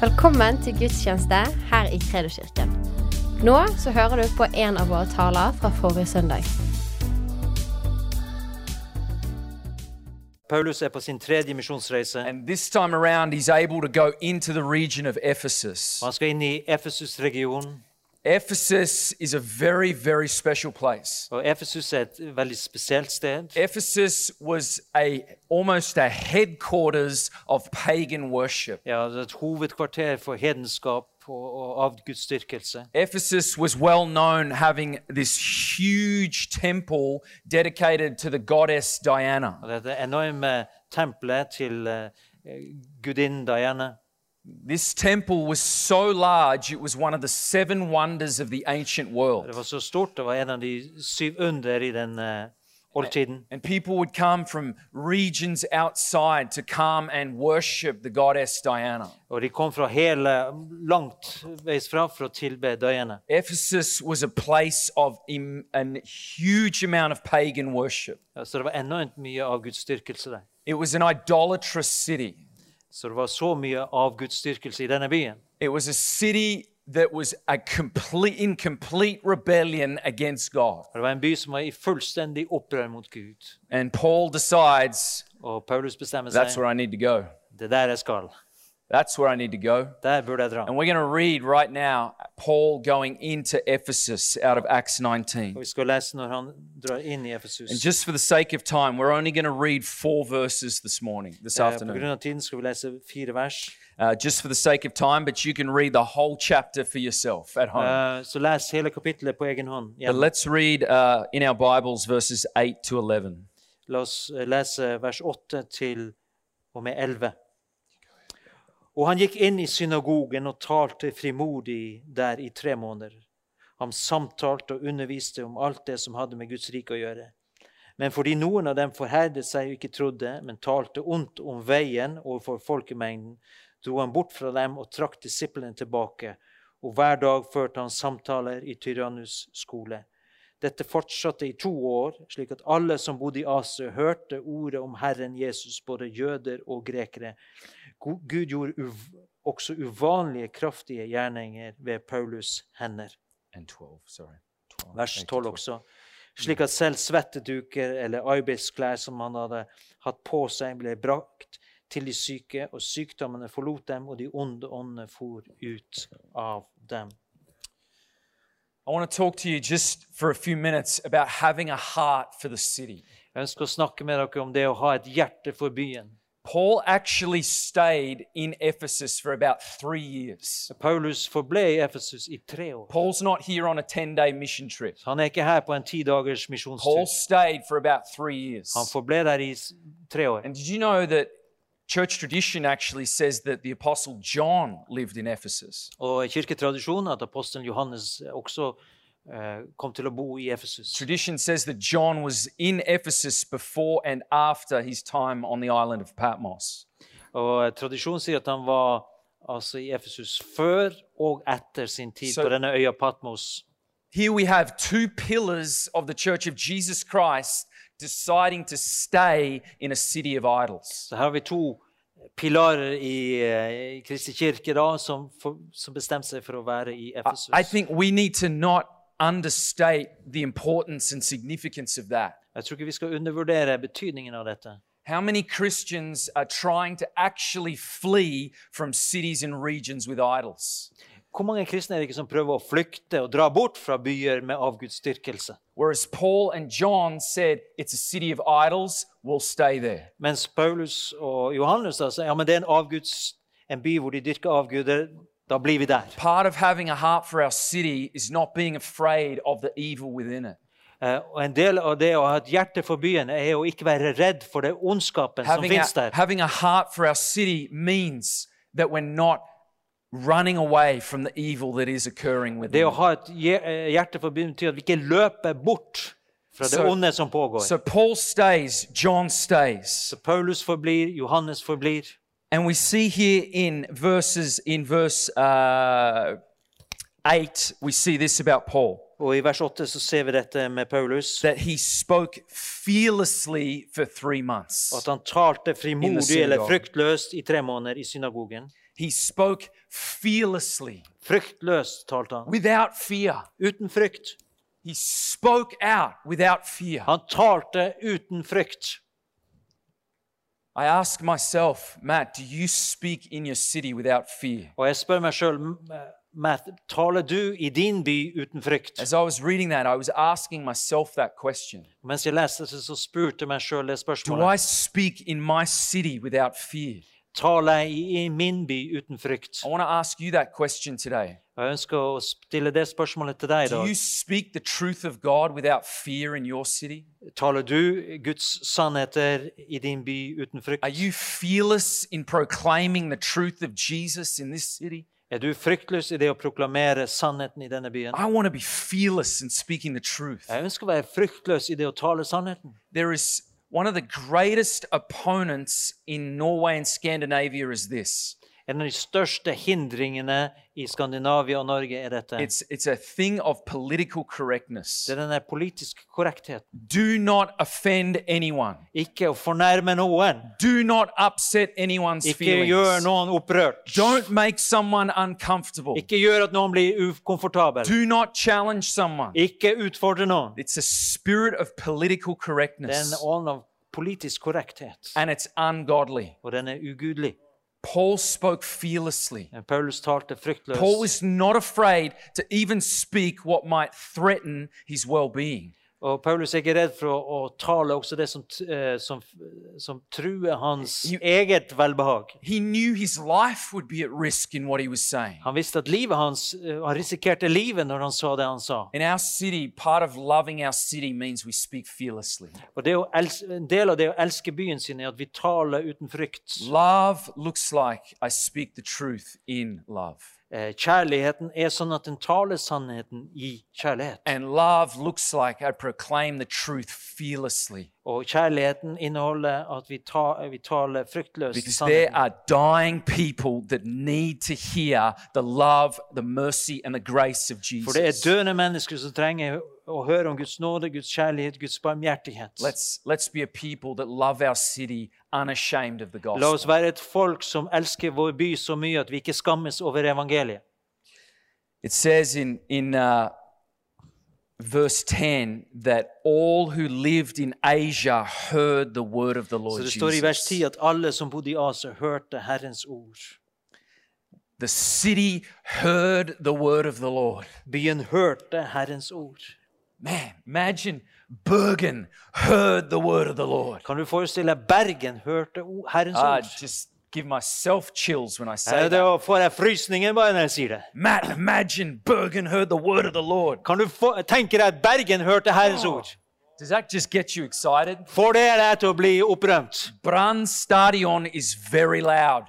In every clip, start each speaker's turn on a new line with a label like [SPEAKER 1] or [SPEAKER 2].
[SPEAKER 1] Velkommen til gudstjeneste her i Kredoskirken. Nå så hører du på en av våre taler fra forrige søndag.
[SPEAKER 2] Paulus er på sin tredje misjonsreise.
[SPEAKER 3] And this time around, he's able to go into the region of Ephesus.
[SPEAKER 2] og Han skal inn i Efesus-regionen.
[SPEAKER 3] Ephesus is a very, very special place.
[SPEAKER 2] Og Efesus er et veldig spesielt sted.
[SPEAKER 3] E- Ephesus was a almost a headquarters of pagan worship.
[SPEAKER 2] Ja, det er Et hovedkvarter for hedenskap og, og avgudsdyrkelse.
[SPEAKER 3] Ephesus was well known having this huge temple dedicated to the goddess Diana.
[SPEAKER 2] Og Dette enorme tempelet til eh, gudinnen Diana.
[SPEAKER 3] This temple was so large, it was one of the seven wonders of the ancient
[SPEAKER 2] Det
[SPEAKER 3] world.
[SPEAKER 2] var så stort. Det var en av de syv under i den eh, oldtiden.
[SPEAKER 3] And people would come from regions outside to come and worship the goddess Diana.
[SPEAKER 2] Og de kom fra hele langt veis fra for å tilbe Diana.
[SPEAKER 3] Ephesus was a place of im- an huge amount of pagan worship.
[SPEAKER 2] Ja, Så det var enormt mye avgudsdyrkelse der.
[SPEAKER 3] It was an idolatrous city.
[SPEAKER 2] Så det var så mye avgudsdyrkelse i denne byen.
[SPEAKER 3] It was a city that was a complete, in complete rebellion against God.
[SPEAKER 2] Og Det var en by som var i fullstendig opprør mot Gud.
[SPEAKER 3] And Paul decides
[SPEAKER 2] Og Paulus bestemmer
[SPEAKER 3] that's
[SPEAKER 2] seg.
[SPEAKER 3] where I need to go.
[SPEAKER 2] Det der jeg skal.
[SPEAKER 3] That's where I need to go.
[SPEAKER 2] Der burde jeg dra.
[SPEAKER 3] And we're going to read right now Paul going into Ephesus out of Acts 19.
[SPEAKER 2] Og vi skal lese når han drar inn i Efesus.
[SPEAKER 3] And just for the sake of time, we're only going to read four verses this morning, this
[SPEAKER 2] Eh, På
[SPEAKER 3] afternoon.
[SPEAKER 2] grunn av tiden skal vi lese fire vers.
[SPEAKER 3] uh, just for the sake of time, but you can read the whole chapter for yourself at home.
[SPEAKER 2] Eh, Så les hele kapittelet på egen hånd.
[SPEAKER 3] but
[SPEAKER 2] igjen.
[SPEAKER 3] let's read uh, in our Bibles verses 8 to 11.
[SPEAKER 2] La oss eh, lese vers 8 til og med 11. Og han gikk inn i synagogen og talte frimodig der i tre måneder. Han samtalte og underviste om alt det som hadde med Guds rike å gjøre. Men fordi noen av dem forherdet seg og ikke trodde, men talte ondt om veien overfor folkemengden, dro han bort fra dem og trakk disiplene tilbake, og hver dag førte han samtaler i Tyrannus skole. Dette fortsatte i to år, slik at alle som bodde i Asia, hørte ordet om Herren Jesus, både jøder og grekere. Gu- Gud gjorde uv også uvanlige kraftige gjerninger ved Paulus' hender.
[SPEAKER 3] And 12, sorry. 12,
[SPEAKER 2] Vers
[SPEAKER 3] 8 to
[SPEAKER 2] 12 også. Slik at selv svetteduker eller arbeidsklær som han hadde hatt på seg, ble brakt til de syke, og sykdommene forlot dem, og de onde åndene for ut av dem.
[SPEAKER 3] I want to talk to you just for a few minutes about having a heart for the city.
[SPEAKER 2] Jeg ønsker å snakke med dere om det å ha et hjerte for byen.
[SPEAKER 3] Paul actually stayed in Ephesus for about three years.
[SPEAKER 2] Paulus forble i Efesus i tre år.
[SPEAKER 3] Paul's not here on a 10 day mission trip.
[SPEAKER 2] Han er ikke her på en ti dagers
[SPEAKER 3] Paul
[SPEAKER 2] misjonstur.
[SPEAKER 3] stayed for about three years.
[SPEAKER 2] Han forble der i s- tre år.
[SPEAKER 3] And did you know that church tradition actually says that the apostle John lived in Ephesus?
[SPEAKER 2] Og i kirketradisjonen at apostelen Johannes også eh, kom til å bo i Efesus.
[SPEAKER 3] Tradition says that John was in Ephesus before and after his time on the island of Patmos.
[SPEAKER 2] Og eh, tradisjonen sier at han var altså, i Efesus før og etter sin tid
[SPEAKER 3] Så-
[SPEAKER 2] på denne øya Patmos.
[SPEAKER 3] Here we have two pillars of the church of Jesus Christ deciding to stay in a city of idols.
[SPEAKER 2] Så her har vi to pilarer i, eh, i Kristi kirke da, som, for, som bestemte seg for å være i
[SPEAKER 3] I-
[SPEAKER 2] Efesus.
[SPEAKER 3] I think we need to not understate the importance and significance of that.
[SPEAKER 2] Jeg tror ikke vi skal undervurdere betydningen av dette.
[SPEAKER 3] How many Christians are trying to actually flee from cities and regions with idols?
[SPEAKER 2] Hvor mange kristne er det ikke som prøver å flykte og dra bort fra byer med avgudsdyrkelse?
[SPEAKER 3] Whereas Paul and John said, It's a city of idols, we'll stay there.
[SPEAKER 2] Mens Paulus og Johannes da sier ja, men det er en avguds, en by hvor de dyrker avguder. Da blir vi der.
[SPEAKER 3] Part of having a heart for our city is not being afraid of the evil within it.
[SPEAKER 2] Eh, og en del av det å ha et hjerte for byen er å ikke være redd for den ondskapen som
[SPEAKER 3] Having
[SPEAKER 2] finnes
[SPEAKER 3] a,
[SPEAKER 2] der.
[SPEAKER 3] having a heart for our city means that we're not running away from the evil that is occurring
[SPEAKER 2] Det
[SPEAKER 3] within
[SPEAKER 2] å
[SPEAKER 3] it.
[SPEAKER 2] ha et hje- eh, hjerte for byen betyr at vi ikke løper bort fra det
[SPEAKER 3] Så-
[SPEAKER 2] onde som pågår.
[SPEAKER 3] So Paul stays, John stays.
[SPEAKER 2] Så Paulus forblir, Johannes forblir.
[SPEAKER 3] And we see here in verses, in verse uh, 8, we see this about Paul.
[SPEAKER 2] Og i vers 8 så ser vi dette med Paulus.
[SPEAKER 3] that he spoke fearlessly for three months.
[SPEAKER 2] At han talte
[SPEAKER 3] In the
[SPEAKER 2] frimodig
[SPEAKER 3] synagogue.
[SPEAKER 2] eller fryktløst i tre måneder i synagogen.
[SPEAKER 3] He spoke fearlessly,
[SPEAKER 2] Fryktløst talte han.
[SPEAKER 3] without fear.
[SPEAKER 2] Uten frykt.
[SPEAKER 3] He spoke out without fear.
[SPEAKER 2] Han talte uten frykt.
[SPEAKER 3] I ask myself, Matt, do you speak in your city without fear?
[SPEAKER 2] Og jeg spør meg sjøl, Matt, taler du i din by uten frykt?
[SPEAKER 3] As I was reading that, I was asking myself that question.
[SPEAKER 2] Mens jeg leste det, så spurte jeg meg sjøl det
[SPEAKER 3] Do I
[SPEAKER 2] spørsmålet.
[SPEAKER 3] speak in my city without fear?
[SPEAKER 2] Taler jeg i- i min by uten frykt?
[SPEAKER 3] I want to ask you that question today.
[SPEAKER 2] Og Jeg ønsker å stille det spørsmålet til deg i
[SPEAKER 3] Do you
[SPEAKER 2] dag.
[SPEAKER 3] speak the truth of God without fear in your city?
[SPEAKER 2] Taler du Guds sannheter i din by uten frykt?
[SPEAKER 3] Are you fearless in proclaiming the truth of Jesus in this city?
[SPEAKER 2] Er du fryktløs i det å proklamere sannheten i denne byen?
[SPEAKER 3] I want to be fearless in speaking the truth.
[SPEAKER 2] Jeg ønsker å være fryktløs i det å tale sannheten.
[SPEAKER 3] There is one of the greatest opponents in Norway and Scandinavia is this.
[SPEAKER 2] En av de største hindringene i Skandinavia og Norge er dette.
[SPEAKER 3] It's it's a thing of political correctness.
[SPEAKER 2] Det er denne politiske korrektheten.
[SPEAKER 3] Do not offend anyone.
[SPEAKER 2] Ikke å fornærme noen.
[SPEAKER 3] Do not upset anyone's
[SPEAKER 2] Ikke gjør
[SPEAKER 3] feelings.
[SPEAKER 2] noen opprørt.
[SPEAKER 3] Don't make someone uncomfortable.
[SPEAKER 2] Ikke gjør at noen blir ukomfortabel.
[SPEAKER 3] Do not challenge someone.
[SPEAKER 2] Ikke utfordre noen.
[SPEAKER 3] It's a spirit of political
[SPEAKER 2] Det er
[SPEAKER 3] correctness
[SPEAKER 2] en ånd av politisk korrekthet,
[SPEAKER 3] and it's ungodly.
[SPEAKER 2] og den er ugudelig.
[SPEAKER 3] Paul spoke fearlessly.
[SPEAKER 2] Men Paulus talte
[SPEAKER 3] Paul
[SPEAKER 2] fryktløst,
[SPEAKER 3] is not afraid to even speak what might threaten his well being.
[SPEAKER 2] og Paulus er ikke redd for å, å tale også det som, t- eh, som, som truer hans
[SPEAKER 3] You-
[SPEAKER 2] eget velbehag.
[SPEAKER 3] He knew his life would be at risk in what he was saying.
[SPEAKER 2] Han visste at livet hans, eh, han risikerte livet når han sa det han sa.
[SPEAKER 3] In our city, part of loving our city means we speak fearlessly.
[SPEAKER 2] Og det å els- En del av det å elske byen sin er at vi taler uten frykt.
[SPEAKER 3] Love looks like I speak the truth in love.
[SPEAKER 2] Eh, Kjærligheten er sånn at den taler sannheten i kjærlighet.
[SPEAKER 3] And love looks like I proclaim the truth fearlessly
[SPEAKER 2] Og kjærligheten inneholder at vi, ta, vi taler fryktløst
[SPEAKER 3] because there
[SPEAKER 2] sannheten.
[SPEAKER 3] are dying people that need to hear the love, the mercy, and the grace of
[SPEAKER 2] For det er
[SPEAKER 3] Jesus.
[SPEAKER 2] døende mennesker som trenger å høre om Guds nåde, Guds kjærlighet, Guds barmhjertighet.
[SPEAKER 3] Let's, let's be a people that love our city unashamed of the
[SPEAKER 2] La oss
[SPEAKER 3] gospel.
[SPEAKER 2] være et folk som elsker vår by så mye at vi ikke skammes over evangeliet.
[SPEAKER 3] It says in, in uh, verse 10 that all who lived in Asia heard the word of the
[SPEAKER 2] Så
[SPEAKER 3] Lord
[SPEAKER 2] det står i vers
[SPEAKER 3] Oh, Jesus.
[SPEAKER 2] 10 at alle som bodde i Asia, hørte Herrens ord.
[SPEAKER 3] The city heard the word of the Lord.
[SPEAKER 2] Byen hørte Herrens ord.
[SPEAKER 3] Man, imagine Bergen heard the word of the Lord.
[SPEAKER 2] Kan du forestille deg Bergen hørte o- Herrens
[SPEAKER 3] I
[SPEAKER 2] ord?
[SPEAKER 3] just give myself chills when I
[SPEAKER 2] Eh,
[SPEAKER 3] say
[SPEAKER 2] Da
[SPEAKER 3] that.
[SPEAKER 2] får jeg frysninger bare når jeg sier det.
[SPEAKER 3] Matt, imagine Bergen heard the word of the Lord.
[SPEAKER 2] Kan du få, tenke deg at Bergen hørte Herrens ord?
[SPEAKER 3] Does that just get you excited?
[SPEAKER 2] Får det deg til å bli opprømt?
[SPEAKER 3] Brandstadion is very loud.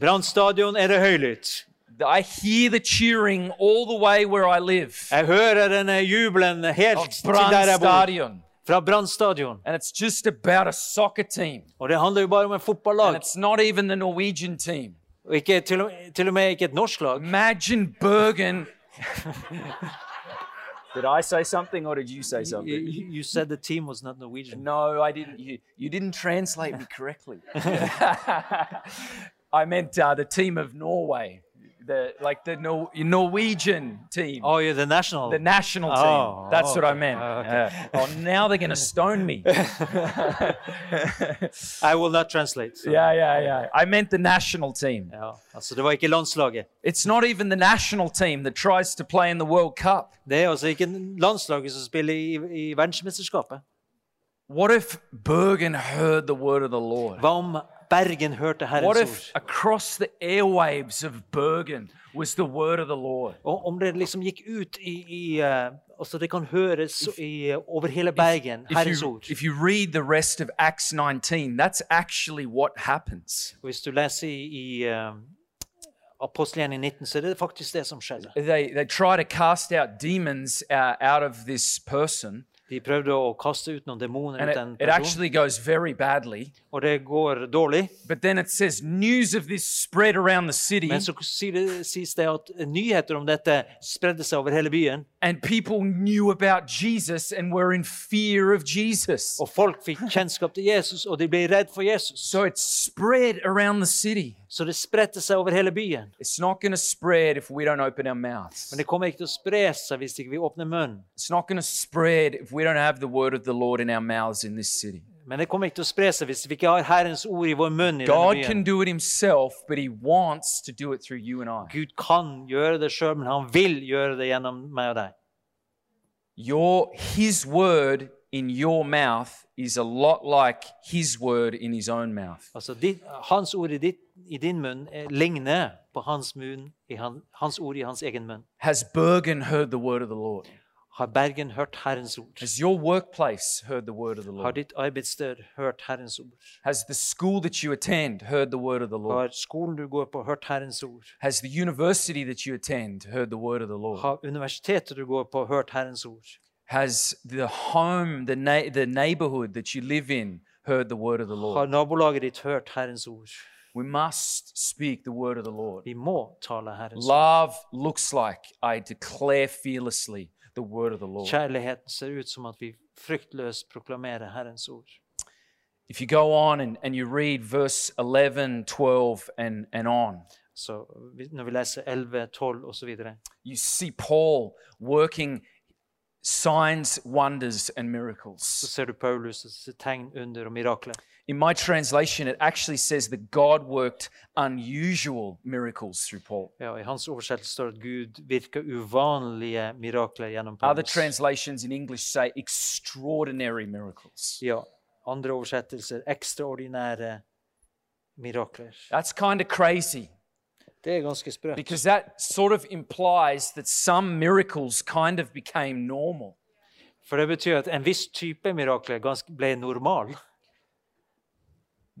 [SPEAKER 2] Brann stadion er det høylytt.
[SPEAKER 3] I hear the cheering all the way where I live.
[SPEAKER 2] Jeg hører denne jubelen
[SPEAKER 3] Of
[SPEAKER 2] helt til der jeg bor.
[SPEAKER 3] Brandstadion.
[SPEAKER 2] Fra Brann stadion.
[SPEAKER 3] And it's just about a soccer team.
[SPEAKER 2] Og det handler jo bare om et
[SPEAKER 3] And
[SPEAKER 2] fotballag,
[SPEAKER 3] it's not even the Norwegian team.
[SPEAKER 2] og ikke, til, og, til og med ikke et norsk
[SPEAKER 3] Mm,
[SPEAKER 2] lag.
[SPEAKER 3] Imagine Bergen. did I say something or did you say
[SPEAKER 2] You, you said the team was not Norwegian.
[SPEAKER 3] No, I didn't. You, you didn't translate me correctly. I meant uh, the team of Norway, the like the Nor- Norwegian team,
[SPEAKER 2] Oh, you're the national.
[SPEAKER 3] the national team.
[SPEAKER 2] Oh,
[SPEAKER 3] That's what I
[SPEAKER 2] okay.
[SPEAKER 3] meant.
[SPEAKER 2] Oh,
[SPEAKER 3] Yeah. oh, now they're going to stone me.
[SPEAKER 2] I will not translate. så-
[SPEAKER 3] Yeah, yeah, yeah. I meant the national team.
[SPEAKER 2] Ja, altså, det var ikke landslaget.
[SPEAKER 3] It's not even the national team that tries to play in the World Cup.
[SPEAKER 2] Det er altså ikke landslaget som spiller i, i verdensmesterskapet.
[SPEAKER 3] What if Bergen heard the word of the Lord?
[SPEAKER 2] Hva om Bergen hørte
[SPEAKER 3] What
[SPEAKER 2] Herrens
[SPEAKER 3] if
[SPEAKER 2] ord?
[SPEAKER 3] across the airwaves of Bergen was the word of the Lord?
[SPEAKER 2] Og om det liksom gikk ut i, i eh, Altså, det kan høres i, eh, over hele Bergen, Herrens
[SPEAKER 3] If you,
[SPEAKER 2] ord.
[SPEAKER 3] if you read the rest of Acts 19, that's actually what happens.
[SPEAKER 2] Hvis du leser i, i eh, Apostelgjerningen 19, så er det faktisk det som skjedde.
[SPEAKER 3] They, they try to cast out demons uh, out of this person,
[SPEAKER 2] De prøvde å kaste ut noen demoner
[SPEAKER 3] and
[SPEAKER 2] ut
[SPEAKER 3] it,
[SPEAKER 2] den
[SPEAKER 3] it
[SPEAKER 2] personen,
[SPEAKER 3] actually goes very badly.
[SPEAKER 2] og det går dårlig.
[SPEAKER 3] But then it says news of this spread around the city,
[SPEAKER 2] Men så sier det- sies det at nyheter om dette spredde seg over hele byen,
[SPEAKER 3] and people knew about Jesus and were in fear of Jesus.
[SPEAKER 2] og folk fikk kjennskap til Jesus, og de ble redd for Jesus.
[SPEAKER 3] So it spread around the city.
[SPEAKER 2] Så det spredte seg over hele byen.
[SPEAKER 3] It's not going to spread if we don't open our mouths.
[SPEAKER 2] Men det kommer ikke til å spre seg hvis ikke vi åpner munnen.
[SPEAKER 3] It's not going to spread if we don't have the word of the Lord in our mouths in this city.
[SPEAKER 2] Men det kommer ikke til å spre seg hvis vi ikke har Herrens ord i vår munn. i
[SPEAKER 3] God
[SPEAKER 2] denne
[SPEAKER 3] can
[SPEAKER 2] byen.
[SPEAKER 3] do it himself, but he wants to do it through you and I.
[SPEAKER 2] Gud kan gjøre det sjøl, men han vil gjøre det gjennom meg og deg.
[SPEAKER 3] Your his word in your mouth is a lot like his word in his own mouth.
[SPEAKER 2] Altså, ditt, Hans ord i, ditt, i din munn eh, ligner på hans, munn, i han, hans ord i hans egen munn.
[SPEAKER 3] Has Bergen heard the word of the Lord?
[SPEAKER 2] Har Bergen hørt Herrens ord?
[SPEAKER 3] Has your workplace heard the word of the
[SPEAKER 2] Har
[SPEAKER 3] Lord?
[SPEAKER 2] ditt arbeidssted hørt Herrens ord?
[SPEAKER 3] Has the school that you attend heard the word of the Lord?
[SPEAKER 2] Har skolen du går på, hørt Herrens ord?
[SPEAKER 3] Has the university that you attend heard the word of the Lord?
[SPEAKER 2] Har universitetet du går på, hørt Herrens ord?
[SPEAKER 3] Has the home, the, na- the neighborhood that you live in heard the word of the
[SPEAKER 2] Har
[SPEAKER 3] Lord?
[SPEAKER 2] nabolaget ditt hørt Herrens ord?
[SPEAKER 3] We must speak the word of the Lord.
[SPEAKER 2] Vi må tale Herrens ord.
[SPEAKER 3] Love looks like I declare fearlessly the word of the Lord.
[SPEAKER 2] Kjærligheten ser ut som at vi fryktløst proklamerer Herrens ord.
[SPEAKER 3] If you go on and, and you read verse 11, 12, and, and on,
[SPEAKER 2] Så vi- når vi leser 11, 12 osv.,
[SPEAKER 3] you see Paul working signs, wonders, and miracles.
[SPEAKER 2] så ser du Paulus' sitt tegn, under og mirakler.
[SPEAKER 3] In my translation, it actually says that God worked unusual miracles through Paul.
[SPEAKER 2] Ja, og I hans oversettelse står det at Gud virker uvanlige mirakler gjennom
[SPEAKER 3] Other
[SPEAKER 2] Paulus.
[SPEAKER 3] translations in English say extraordinary miracles.
[SPEAKER 2] Ja, andre oversettelser ekstraordinære mirakler.
[SPEAKER 3] That's kind of crazy
[SPEAKER 2] Det er ganske sprøtt.
[SPEAKER 3] because that sort of implies that some miracles kind of became normal.
[SPEAKER 2] For det betyr at en viss type mirakler ganske ble normal.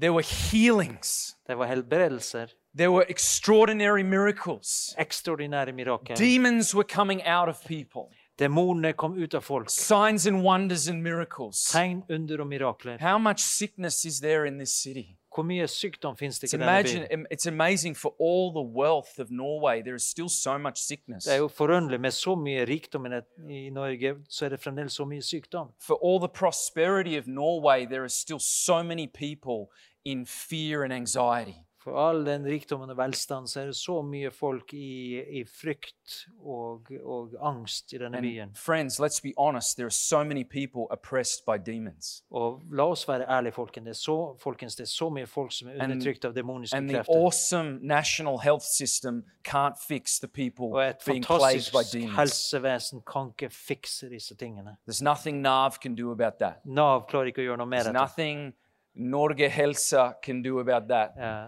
[SPEAKER 3] There were healings,
[SPEAKER 2] Det var helbredelser.
[SPEAKER 3] there were extraordinary miracles.
[SPEAKER 2] Ekstraordinære mirakler.
[SPEAKER 3] Demons were coming out of people.
[SPEAKER 2] Demonene kom ut av folk.
[SPEAKER 3] Signs and wonders and miracles.
[SPEAKER 2] Tegn, under og mirakler.
[SPEAKER 3] How much sickness is there in this city?
[SPEAKER 2] Hvor mye sykdom fins det
[SPEAKER 3] It's,
[SPEAKER 2] ikke i denne
[SPEAKER 3] imagine,
[SPEAKER 2] byen?
[SPEAKER 3] im- it's amazing for all the wealth of Norway, there is still so much sickness.
[SPEAKER 2] Det er jo forunderlig. Med så mye rikdom i det- i Norge, så er det fremdeles så mye sykdom.
[SPEAKER 3] For all the prosperity of Norway, there are still so many people in fear and anxiety.
[SPEAKER 2] For all den rikdommen og velstanden så er det så mye folk i, i frykt og, og angst i denne byen.
[SPEAKER 3] And friends, let's be honest, there are so many people oppressed by demons.
[SPEAKER 2] Og la oss være ærlige, folken. det er så, folkens. Det er så mye folk som er
[SPEAKER 3] And-
[SPEAKER 2] undertrykt av demoniske
[SPEAKER 3] And the
[SPEAKER 2] krefter.
[SPEAKER 3] awesome national health system can't fix the people
[SPEAKER 2] Og et
[SPEAKER 3] being plagued by
[SPEAKER 2] fantastisk
[SPEAKER 3] demons.
[SPEAKER 2] helsevesen kan ikke fikse disse tingene.
[SPEAKER 3] There's nothing NAV can do about that.
[SPEAKER 2] Nav klarer ikke å gjøre noe mer.
[SPEAKER 3] There's
[SPEAKER 2] etter.
[SPEAKER 3] nothing Norge Helsa can do about that.
[SPEAKER 2] Ja.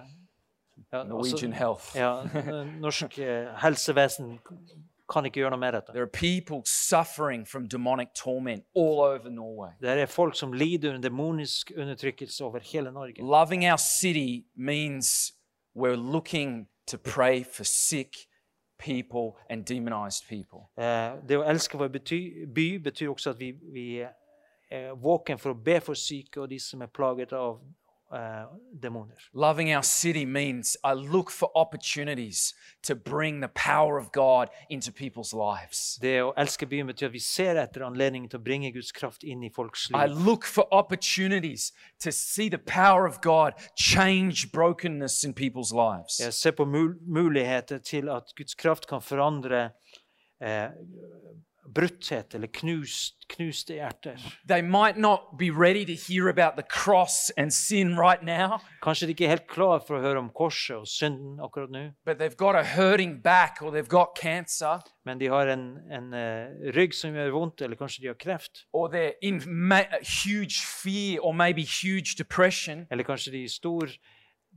[SPEAKER 2] Ja,
[SPEAKER 3] Norwegian
[SPEAKER 2] altså,
[SPEAKER 3] Health.
[SPEAKER 2] ja, n- norsk eh, helsevesen kan ikke gjøre noe med dette.
[SPEAKER 3] There are people suffering from demonic torment all over Norway.
[SPEAKER 2] Det er folk som lider under demonisk undertrykkelse over hele Norge.
[SPEAKER 3] Loving our city means we're looking to pray for sick people and demonized people.
[SPEAKER 2] Eh, det å elske vår bety, by betyr også at vi, vi eh, er våken for å be for syke og de som er plaget av eh, demoner.
[SPEAKER 3] Loving our city means I look for opportunities to bring the power of God into people's lives.
[SPEAKER 2] Det å elske byen betyr at vi ser etter anledningen til å bringe Guds kraft inn i folks
[SPEAKER 3] I
[SPEAKER 2] liv.
[SPEAKER 3] look for opportunities to see the power of God change brokenness in people's lives.
[SPEAKER 2] Jeg ser på mul muligheter til at Guds kraft kan forandre eh, brutthet eller knust, knuste hjerter.
[SPEAKER 3] They might not be ready to hear about the cross and sin right now,
[SPEAKER 2] Kanskje de ikke er helt klar for å høre om korset og synden akkurat nå,
[SPEAKER 3] but they've got a hurting back or they've got cancer
[SPEAKER 2] men de har en, en eh, rygg som gjør vondt, eller kanskje de har kreft.
[SPEAKER 3] or they're in ma- huge fear or maybe huge depression
[SPEAKER 2] Eller kanskje de er i stor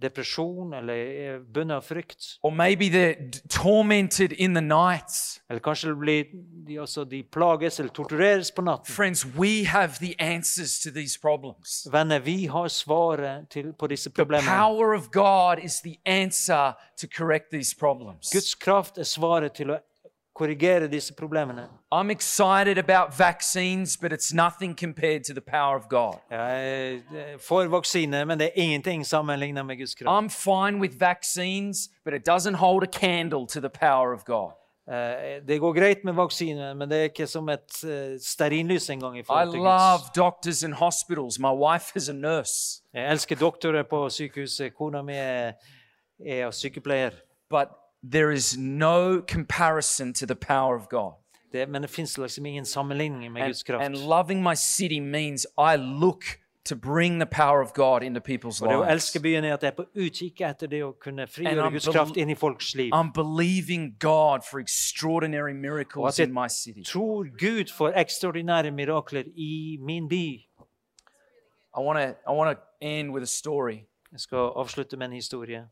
[SPEAKER 2] depresjon eller er bundet av frykt.
[SPEAKER 3] or maybe they're d- tormented in the night.
[SPEAKER 2] Eller kanskje det blir, de, altså, de plages eller tortureres på natten.
[SPEAKER 3] Friends, we have the answers to these problems.
[SPEAKER 2] Venner, vi har svaret til, på disse
[SPEAKER 3] The
[SPEAKER 2] problemene.
[SPEAKER 3] power of God is the answer to correct these problems.
[SPEAKER 2] Guds kraft er svaret til å korrigere disse problemene.
[SPEAKER 3] I'm excited about vaccines, but it's nothing compared to the power of God.
[SPEAKER 2] Jeg eh, får vaksine, men det er ingenting sammenlignet med Guds kraft.
[SPEAKER 3] I'm fine with vaccines, but it doesn't hold a candle to the power of God.
[SPEAKER 2] Eh, Det går greit med vaksine, men det er ikke som et eh, stearinlys engang. i
[SPEAKER 3] I
[SPEAKER 2] forhold til Guds.
[SPEAKER 3] love doctors and hospitals. My wife is a nurse.
[SPEAKER 2] Jeg elsker doktorer på sykehuset. Kona mi er er av sykepleier.
[SPEAKER 3] But there is no comparison to the power of God.
[SPEAKER 2] Det, men det fins liksom ingen sammenligning med
[SPEAKER 3] And,
[SPEAKER 2] Guds
[SPEAKER 3] and
[SPEAKER 2] kraft.
[SPEAKER 3] loving my city means I look to bring the power of God into people's
[SPEAKER 2] Og det å
[SPEAKER 3] lives.
[SPEAKER 2] elske byen er at jeg er på utkikk etter det å kunne frigjøre
[SPEAKER 3] I'm
[SPEAKER 2] Guds
[SPEAKER 3] bel-
[SPEAKER 2] kraft inn i folks liv.
[SPEAKER 3] I'm believing God for extraordinary miracles
[SPEAKER 2] jag
[SPEAKER 3] in my city.
[SPEAKER 2] Tror Gud for ekstraordinære mirakler i min by.
[SPEAKER 3] I want to I want to end with a story.
[SPEAKER 2] Jeg skal avslutte med en historie.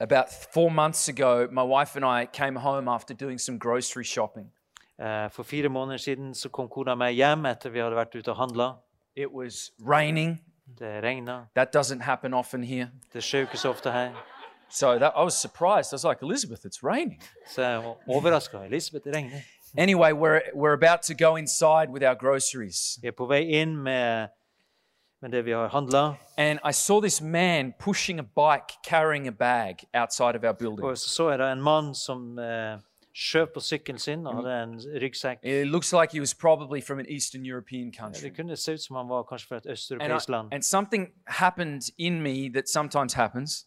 [SPEAKER 3] About 4 months ago, my wife and I came home after doing some grocery shopping.
[SPEAKER 2] Eh, For fire måneder siden så kom kona meg hjem etter vi hadde vært ute og handla.
[SPEAKER 3] It was raining.
[SPEAKER 2] Det regna.
[SPEAKER 3] That doesn't happen often here.
[SPEAKER 2] Det skjer jo ikke så ofte her.
[SPEAKER 3] So that I was surprised. I was like, "Elizabeth, it's raining."
[SPEAKER 2] Så jeg var overraska. Elisabeth, det regner.
[SPEAKER 3] Anyway, we're we're about to go inside with our groceries.
[SPEAKER 2] Vi er på vei inn med, med det vi har handla.
[SPEAKER 3] And I saw this man pushing a bike carrying a bag outside of our building.
[SPEAKER 2] Og så så jeg da en mann som eh, skjøv på sykkelen sin og hadde en ryggsekk.
[SPEAKER 3] It looks like he was probably from an Eastern European
[SPEAKER 2] Det
[SPEAKER 3] country.
[SPEAKER 2] kunne se ut som han var kanskje fra et
[SPEAKER 3] And, I-
[SPEAKER 2] østeuropeisk land.
[SPEAKER 3] and something happened in me that sometimes happens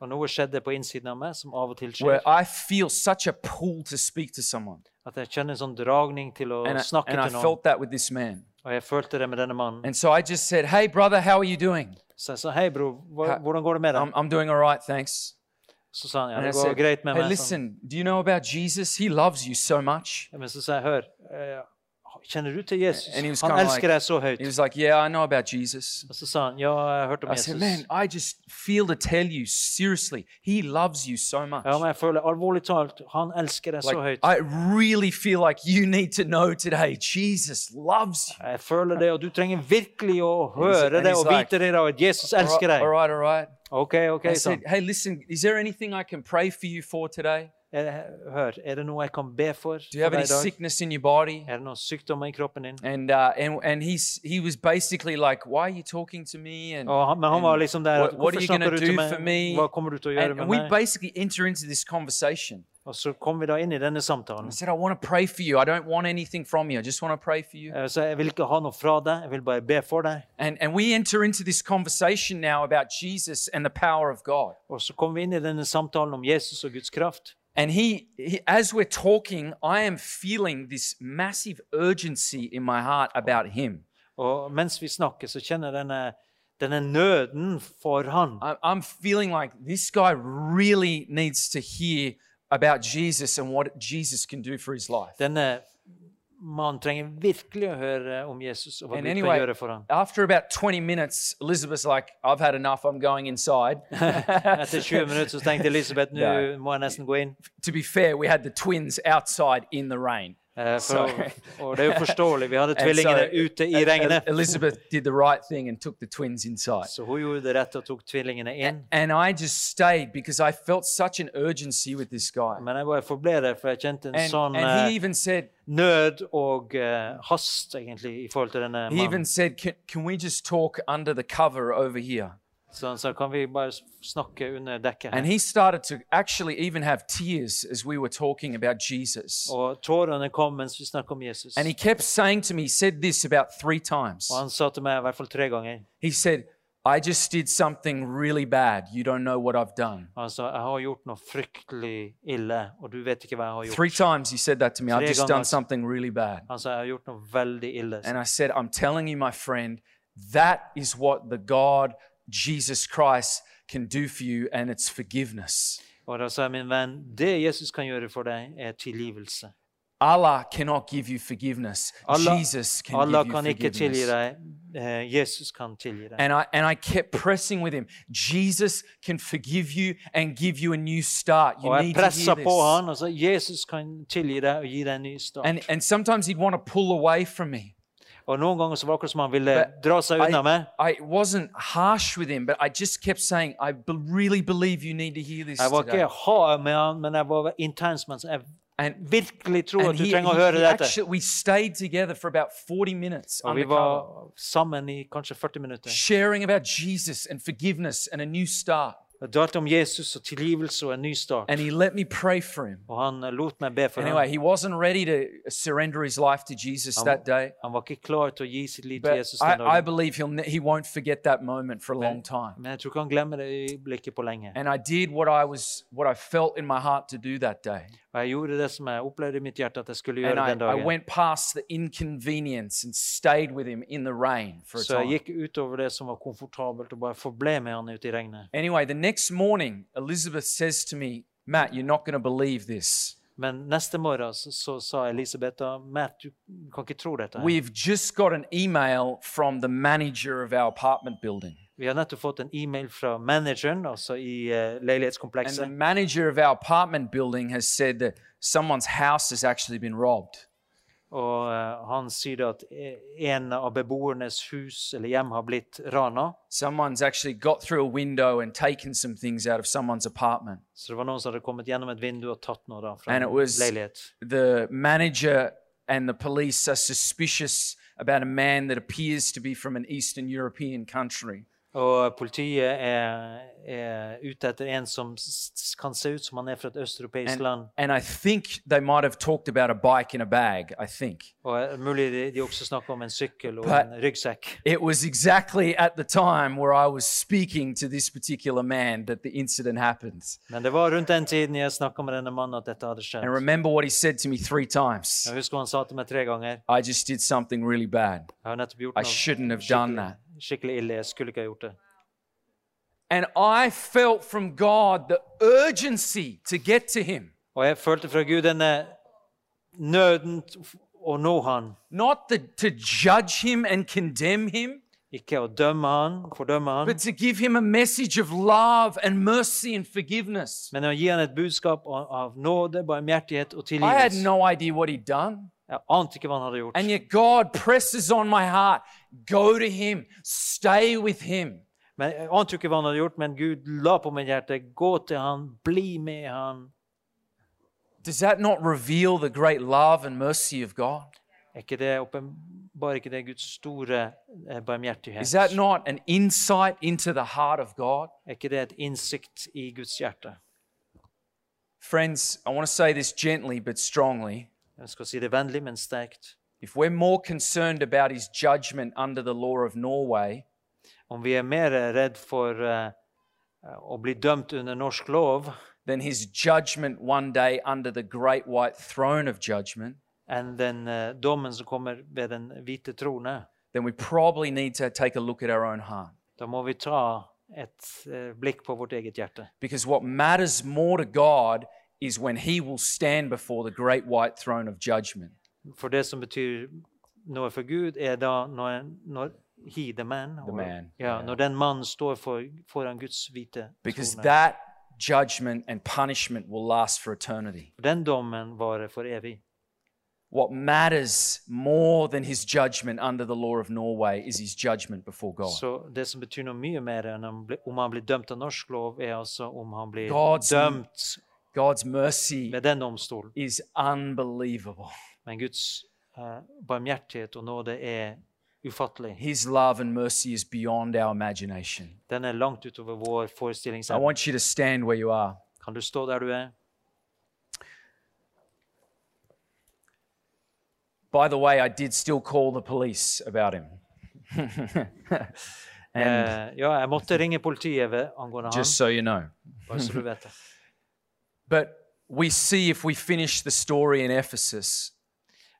[SPEAKER 2] Og noe skjedde på innsiden av meg som av og til skjer.
[SPEAKER 3] where I feel such a pull to speak to someone.
[SPEAKER 2] At jeg kjenner en sånn dragning til å
[SPEAKER 3] And I,
[SPEAKER 2] snakke
[SPEAKER 3] and I
[SPEAKER 2] til noen.
[SPEAKER 3] felt that with this man.
[SPEAKER 2] Og jeg følte det med denne mannen.
[SPEAKER 3] And so I just said, Hey, brother, how are you doing?
[SPEAKER 2] Så jeg sa hei, bror, hva-
[SPEAKER 3] Ha-
[SPEAKER 2] hvordan går det med
[SPEAKER 3] I'm,
[SPEAKER 2] deg?
[SPEAKER 3] I'm doing all right, thanks.
[SPEAKER 2] Så sa han ja,
[SPEAKER 3] And I
[SPEAKER 2] det går
[SPEAKER 3] said,
[SPEAKER 2] greit med
[SPEAKER 3] Hey,
[SPEAKER 2] meg. Sånn.
[SPEAKER 3] listen, do you know about Jesus? He loves you so much.
[SPEAKER 2] Men så sa jeg hør, eh, kjenner du til Jesus?
[SPEAKER 3] And he was
[SPEAKER 2] Han
[SPEAKER 3] kinda like-
[SPEAKER 2] elsker deg så høyt.
[SPEAKER 3] He was like, Yeah, I know about Jesus.
[SPEAKER 2] Og så sa han ja, jeg har hørt om
[SPEAKER 3] I said,
[SPEAKER 2] Jesus.
[SPEAKER 3] man, I just feel to tell you seriously, he loves you so much.
[SPEAKER 2] Ja, men jeg føler alvorlig talt, han elsker deg så
[SPEAKER 3] Like,
[SPEAKER 2] høyt.
[SPEAKER 3] I really feel like you need to know today, Jesus loves you.
[SPEAKER 2] Jeg føler det, og du trenger virkelig å
[SPEAKER 3] he's-
[SPEAKER 2] høre
[SPEAKER 3] and
[SPEAKER 2] det
[SPEAKER 3] he's
[SPEAKER 2] og vite
[SPEAKER 3] like,
[SPEAKER 2] det, da, at Jesus
[SPEAKER 3] All right,
[SPEAKER 2] elsker deg.
[SPEAKER 3] all right, all right.
[SPEAKER 2] OK, OK, sånn.
[SPEAKER 3] I
[SPEAKER 2] sa
[SPEAKER 3] said,
[SPEAKER 2] han.
[SPEAKER 3] hey, listen, is there anything I can pray for you for today?
[SPEAKER 2] Eh, Hør, er det noe jeg kan be for
[SPEAKER 3] Do you have
[SPEAKER 2] for
[SPEAKER 3] any
[SPEAKER 2] deg i dag?
[SPEAKER 3] sickness in your body?
[SPEAKER 2] Er det noen sykdommer i kroppen din?
[SPEAKER 3] And uh, and and he's he was basically like, why are you talking to me? And
[SPEAKER 2] Og han, men han var liksom der
[SPEAKER 3] What-
[SPEAKER 2] at,
[SPEAKER 3] what are
[SPEAKER 2] Hvorfor
[SPEAKER 3] you
[SPEAKER 2] snakker
[SPEAKER 3] gonna
[SPEAKER 2] du til
[SPEAKER 3] do for me?"
[SPEAKER 2] meg? Hva kommer du til å gjøre
[SPEAKER 3] and
[SPEAKER 2] med
[SPEAKER 3] we
[SPEAKER 2] meg?
[SPEAKER 3] basically enter into this conversation.
[SPEAKER 2] Og så kom vi da inn i denne samtalen.
[SPEAKER 3] I said, I want to pray for you. I don't want anything from you. I just want to pray for you.
[SPEAKER 2] Eh, Så jeg vil ikke ha noe fra deg, jeg vil bare be for deg.
[SPEAKER 3] And, and we enter into this conversation now about Jesus and the power of God.
[SPEAKER 2] Og så kom vi inn i denne samtalen om Jesus og Guds kraft.
[SPEAKER 3] And he, he, as we're talking, I am feeling this massive urgency in my heart about him.
[SPEAKER 2] Og mens vi snakker, så kjenner jeg denne, denne nøden for han.
[SPEAKER 3] I- I'm feeling like this guy really needs to hear about Jesus and what Jesus can do for his life.
[SPEAKER 2] Denne mannen trenger virkelig å høre om Jesus og hva
[SPEAKER 3] And
[SPEAKER 2] Gud
[SPEAKER 3] anyway,
[SPEAKER 2] kan gjøre for han.
[SPEAKER 3] after about 20 minutes, Elizabeth's like, I've had enough, I'm going inside.
[SPEAKER 2] Etter 20 minutter så tenkte Elisabeth nå
[SPEAKER 3] Nei.
[SPEAKER 2] må jeg nesten gå inn.
[SPEAKER 3] to be fair, we had the twins outside in the rain.
[SPEAKER 2] Eh, For,
[SPEAKER 3] Sorry.
[SPEAKER 2] og det er jo forståelig. Vi hadde
[SPEAKER 3] And so,
[SPEAKER 2] tvillingene er ute i regnet.
[SPEAKER 3] Elizabeth did the right thing and took the twins inside.
[SPEAKER 2] Så hun gjorde det rette og tok tvillingene inn.
[SPEAKER 3] And I just stayed because I felt such an urgency with this guy.
[SPEAKER 2] Men jeg bare forble der, for jeg kjente en
[SPEAKER 3] And,
[SPEAKER 2] sånn
[SPEAKER 3] and he
[SPEAKER 2] eh,
[SPEAKER 3] even said,
[SPEAKER 2] nød og eh, hast, egentlig, i forhold til denne
[SPEAKER 3] he even
[SPEAKER 2] mannen.
[SPEAKER 3] said, can, can we just talk under the cover over here?
[SPEAKER 2] Så han sa, kan vi bare s- snakke under dekket
[SPEAKER 3] And
[SPEAKER 2] her?
[SPEAKER 3] he started to actually even have tears as we were talking about Jesus.
[SPEAKER 2] Og tårene kom mens vi snakket om Jesus.
[SPEAKER 3] And he kept saying to me, he said this about three times.
[SPEAKER 2] Og han sa til meg i hvert fall tre ganger.
[SPEAKER 3] He said, I just did something really bad. You don't know what I've done.
[SPEAKER 2] Han sa, Altså, jeg har gjort noe fryktelig ille, og du vet ikke hva jeg har gjort.
[SPEAKER 3] Three times he said that to me. I've
[SPEAKER 2] Tre
[SPEAKER 3] just
[SPEAKER 2] ganger.
[SPEAKER 3] done something really bad.
[SPEAKER 2] Han sa, jeg har gjort noe veldig ille.
[SPEAKER 3] And I said, I'm telling you, my friend, that is what the God, Jesus Christ, can do for you, and it's forgiveness.
[SPEAKER 2] Og da sa jeg, min venn, det Jesus kan gjøre for deg er tilgivelse.
[SPEAKER 3] Allah cannot give you forgiveness.
[SPEAKER 2] Allah,
[SPEAKER 3] Jesus can
[SPEAKER 2] Allah
[SPEAKER 3] give you
[SPEAKER 2] kan ikke tilgi
[SPEAKER 3] forgiveness.
[SPEAKER 2] deg. eh, Jesus kan tilgi deg.
[SPEAKER 3] And I, and I kept pressing with him. Jesus can forgive you and give you a new start. You
[SPEAKER 2] Og jeg
[SPEAKER 3] need to
[SPEAKER 2] pressa
[SPEAKER 3] hear
[SPEAKER 2] på
[SPEAKER 3] this.
[SPEAKER 2] han og sa Jesus kan tilgi deg og gi deg en ny start.
[SPEAKER 3] And, and sometimes he'd want to pull away from me.
[SPEAKER 2] og noen ganger så var det akkurat som han ville
[SPEAKER 3] But
[SPEAKER 2] dra seg unna
[SPEAKER 3] I,
[SPEAKER 2] meg.
[SPEAKER 3] I wasn't harsh with him, but I just kept saying, I be- really believe you need to hear this
[SPEAKER 2] Jeg var
[SPEAKER 3] today.
[SPEAKER 2] ikke hard med han, men jeg var intens med han. Så jeg
[SPEAKER 3] And
[SPEAKER 2] virkelig tror
[SPEAKER 3] And
[SPEAKER 2] at du
[SPEAKER 3] he-
[SPEAKER 2] trenger å
[SPEAKER 3] he-
[SPEAKER 2] høre
[SPEAKER 3] he
[SPEAKER 2] dette.
[SPEAKER 3] actually- we stayed together for about 40 minutes
[SPEAKER 2] Og vi
[SPEAKER 3] undercover,
[SPEAKER 2] var sammen i kanskje 40 minutter.
[SPEAKER 3] sharing about Jesus and forgiveness and a new start.
[SPEAKER 2] Jeg talte om Jesus og tilgivelse og en ny start.
[SPEAKER 3] and he let me pray for him.
[SPEAKER 2] Og han eh, lot meg be for
[SPEAKER 3] Anyway,
[SPEAKER 2] ham.
[SPEAKER 3] he wasn't ready to surrender his life to Jesus
[SPEAKER 2] I'm-
[SPEAKER 3] that day.
[SPEAKER 2] Han var ikke klar til å gi sitt liv til
[SPEAKER 3] But
[SPEAKER 2] Um, Jesus den
[SPEAKER 3] I, I
[SPEAKER 2] dagen.
[SPEAKER 3] believe he'll, ne- he won't forget that moment for a long time.
[SPEAKER 2] Men jeg tror ikke han glemmer det øyeblikket på lenge.
[SPEAKER 3] And I did what I was, what I felt in my heart to do that day.
[SPEAKER 2] Og jeg gjorde det som jeg opplevde i mitt hjerte at jeg skulle
[SPEAKER 3] And
[SPEAKER 2] gjøre
[SPEAKER 3] I,
[SPEAKER 2] den
[SPEAKER 3] I
[SPEAKER 2] dagen.
[SPEAKER 3] went past the inconvenience and stayed with him in the rain for a
[SPEAKER 2] Så jeg
[SPEAKER 3] time.
[SPEAKER 2] gikk utover det som var komfortabelt, og bare forble med han ute i regnet.
[SPEAKER 3] Anyway, the next morning, Elizabeth says to me, Matt, you're not going to believe this.
[SPEAKER 2] Men neste morgen så, så sa Elisabeth da, Matt, du kan ikke tro dette. her.
[SPEAKER 3] We've just got an email from the manager of our apartment building.
[SPEAKER 2] Vi har nettopp fått en e-mail fra manageren altså i eh,
[SPEAKER 3] And the
[SPEAKER 2] leilighetskomplekset.
[SPEAKER 3] manager of our apartment building has said that someone's house has actually been robbed.
[SPEAKER 2] Og eh, han sier da at eh, en av beboernes hus eller hjem har blitt rana.
[SPEAKER 3] Someone's actually got through a window and taken some things out of someone's apartment.
[SPEAKER 2] Så det var noen som hadde kommet gjennom et vindu og tatt noe da fra
[SPEAKER 3] And it
[SPEAKER 2] en
[SPEAKER 3] was-
[SPEAKER 2] leilighet.
[SPEAKER 3] The manager and the police are suspicious about a man that appears to be from an Eastern European country.
[SPEAKER 2] Og politiet er, er ute etter en som s- s- kan se ut som han er fra et østeuropeisk
[SPEAKER 3] And,
[SPEAKER 2] land.
[SPEAKER 3] and I think they might have talked about a bike in a bag, I think.
[SPEAKER 2] Og eh, mulig de, de også snakker om en sykkel og
[SPEAKER 3] But-
[SPEAKER 2] en ryggsekk.
[SPEAKER 3] It was exactly at the time where I was speaking to this particular man that the incident happened.
[SPEAKER 2] Men det var rundt den tiden jeg snakka med denne mannen at dette hadde
[SPEAKER 3] And
[SPEAKER 2] skjedd.
[SPEAKER 3] remember what he said to me three times.
[SPEAKER 2] Jeg husker han sa til meg tre ganger
[SPEAKER 3] I just did something really bad.
[SPEAKER 2] Jeg har nettopp gjort noe
[SPEAKER 3] I shouldn't have done
[SPEAKER 2] skikkelig,
[SPEAKER 3] that.
[SPEAKER 2] skikkelig ille. Jeg skulle ikke ha gjort det.
[SPEAKER 3] And I felt from God the urgency to get to him,
[SPEAKER 2] Og jeg følte fra Gud denne nøden t- f- å nå han.
[SPEAKER 3] not the, to judge him and condemn him,
[SPEAKER 2] Ikke å dømme han, fordømme han,
[SPEAKER 3] but to give him a message of love and mercy and forgiveness.
[SPEAKER 2] men å gi han et budskap av av nåde, barmhjertighet og
[SPEAKER 3] I had
[SPEAKER 2] tilgivelse.
[SPEAKER 3] no idea what he'd done.
[SPEAKER 2] Jeg ante ikke hva han hadde gjort.
[SPEAKER 3] And yet God presses on my heart go to him, stay with him.
[SPEAKER 2] Men jeg ante jo ikke hva han hadde gjort, men Gud la på mitt hjerte. Gå til han, bli med han.
[SPEAKER 3] Does that not reveal the great love and mercy of God?
[SPEAKER 2] Er ikke det åpenbart ikke det Guds store eh, barmhjertighet?
[SPEAKER 3] Is that not an insight into the heart of God?
[SPEAKER 2] Er ikke det et innsikt i Guds hjerte?
[SPEAKER 3] Friends, I want to say this gently but strongly.
[SPEAKER 2] Jeg skal si det vennlig, men sterkt.
[SPEAKER 3] If we're more concerned about his judgment under the law of Norway
[SPEAKER 2] Om vi er mer redd for eh, å bli dømt under norsk lov
[SPEAKER 3] than his judgment one day under the great white throne of judgment,
[SPEAKER 2] enn den eh, dommen som kommer ved den hvite trone,
[SPEAKER 3] then we probably need to take a look at our own heart.
[SPEAKER 2] da må vi ta et eh, blikk på vårt eget hjerte.
[SPEAKER 3] Because what matters more to God is when he will stand before the great white throne of judgment.
[SPEAKER 2] For det som betyr noe for Gud, er da når, en- når he, the man,
[SPEAKER 3] The man,
[SPEAKER 2] Ja,
[SPEAKER 3] ja.
[SPEAKER 2] når den mannen står for, foran Guds hvite
[SPEAKER 3] Because
[SPEAKER 2] trone.
[SPEAKER 3] that judgment and punishment will last for eternity.
[SPEAKER 2] Den dommen varer for evig.
[SPEAKER 3] What matters more than his judgment under the law of Norway is his judgment before God.
[SPEAKER 2] Så det som betyr noe mye mer enn om, bli- om han blir dømt av norsk lov, er altså om han blir
[SPEAKER 3] God's-
[SPEAKER 2] dømt
[SPEAKER 3] God's mercy
[SPEAKER 2] ved den domstolen.
[SPEAKER 3] is unbelievable.
[SPEAKER 2] Men Guds eh, barmhjertighet og nåde er ufattelig.
[SPEAKER 3] His love and mercy is beyond our imagination.
[SPEAKER 2] Den er langt utover vår
[SPEAKER 3] I
[SPEAKER 2] forestillingsevne.
[SPEAKER 3] want you to stand where you are.
[SPEAKER 2] Kan du stå der du er?
[SPEAKER 3] By the way, I did still call the police about him. and
[SPEAKER 2] Eh, ja, jeg måtte ringe politiet ved, angående
[SPEAKER 3] just so you know.
[SPEAKER 2] han. Bare så du vet det.
[SPEAKER 3] But we see if we finish the story in Ephesus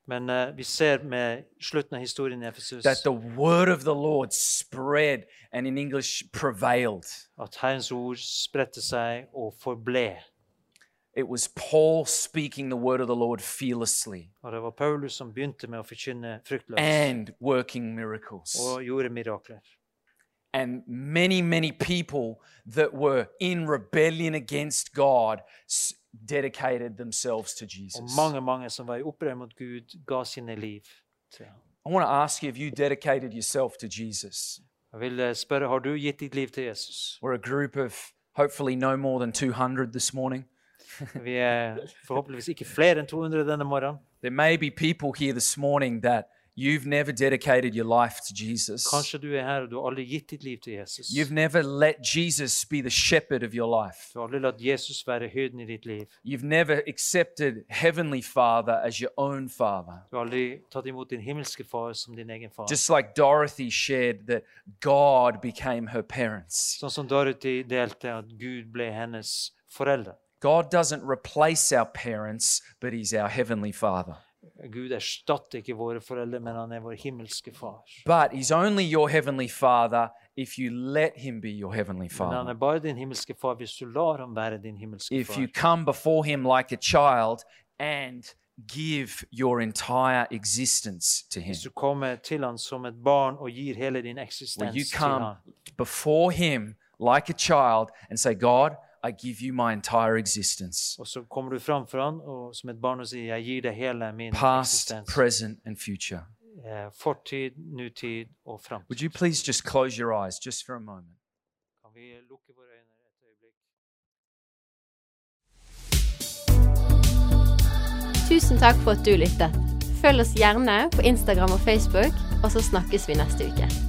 [SPEAKER 2] Men eh, vi ser med slutten av historien i Efesus
[SPEAKER 3] that the word of the Lord spread and in English prevailed.
[SPEAKER 2] at Herrens ord spredte seg og forble.
[SPEAKER 3] It was Paul speaking the word of the Lord fearlessly
[SPEAKER 2] Og det var Paulus som begynte med å forkynne fruktløst
[SPEAKER 3] and working miracles.
[SPEAKER 2] og gjorde mirakler.
[SPEAKER 3] and many, many people that were in rebellion against God s- dedicated themselves to
[SPEAKER 2] Og
[SPEAKER 3] Jesus.
[SPEAKER 2] mange, mange som var i opprør mot Gud, ga sine liv til ham.
[SPEAKER 3] I want to ask you if you dedicated yourself to Jesus.
[SPEAKER 2] Jeg vil eh, spørre, har du gitt ditt liv til Jesus?
[SPEAKER 3] We're a group of hopefully no more than 200 this morning.
[SPEAKER 2] Vi er forhåpentligvis ikke flere enn 200 denne morgenen.
[SPEAKER 3] There may be people here this morning that You've never dedicated your life to Jesus.
[SPEAKER 2] Kanskje du er her og du har aldri gitt ditt liv til Jesus.
[SPEAKER 3] You've never let Jesus be the shepherd of your life.
[SPEAKER 2] Du har aldri latt Jesus være høyden i ditt liv.
[SPEAKER 3] You've never accepted Heavenly Father as your own Father.
[SPEAKER 2] Du har aldri tatt imot din himmelske far som din egen far.
[SPEAKER 3] Just like Dorothy shared that God became her parents.
[SPEAKER 2] Sånn som Dorothy delte, at Gud ble hennes foreldre.
[SPEAKER 3] God doesn't replace our parents, but He's our Heavenly Father.
[SPEAKER 2] Gud erstatter ikke våre foreldre, men han er vår himmelske far.
[SPEAKER 3] But He's only your Heavenly Father if you let Him be your Heavenly
[SPEAKER 2] Men han
[SPEAKER 3] Father.
[SPEAKER 2] er bare din himmelske far hvis du lar ham være din himmelske
[SPEAKER 3] If you
[SPEAKER 2] far.
[SPEAKER 3] come before Him like a child and give your entire existence to Him.
[SPEAKER 2] Hvis du kommer til han som et barn og gir hele din
[SPEAKER 3] When you
[SPEAKER 2] eksistens til
[SPEAKER 3] come
[SPEAKER 2] han.
[SPEAKER 3] before Him like a child and say, God, I give you my entire existence,
[SPEAKER 2] Og så kommer du fram for han og som et barn og sier 'Jeg gir deg hele min
[SPEAKER 3] past,
[SPEAKER 2] eksistens'.
[SPEAKER 3] present, and future.
[SPEAKER 2] Eh, Fortid, nutid og framtid.
[SPEAKER 3] Would you please just close your eyes just for a moment?
[SPEAKER 2] Kan vi lukke våre øyne et øyeblikk?
[SPEAKER 1] Tusen takk for at du lyttet. Følg oss gjerne på Instagram og Facebook, og så snakkes vi neste uke.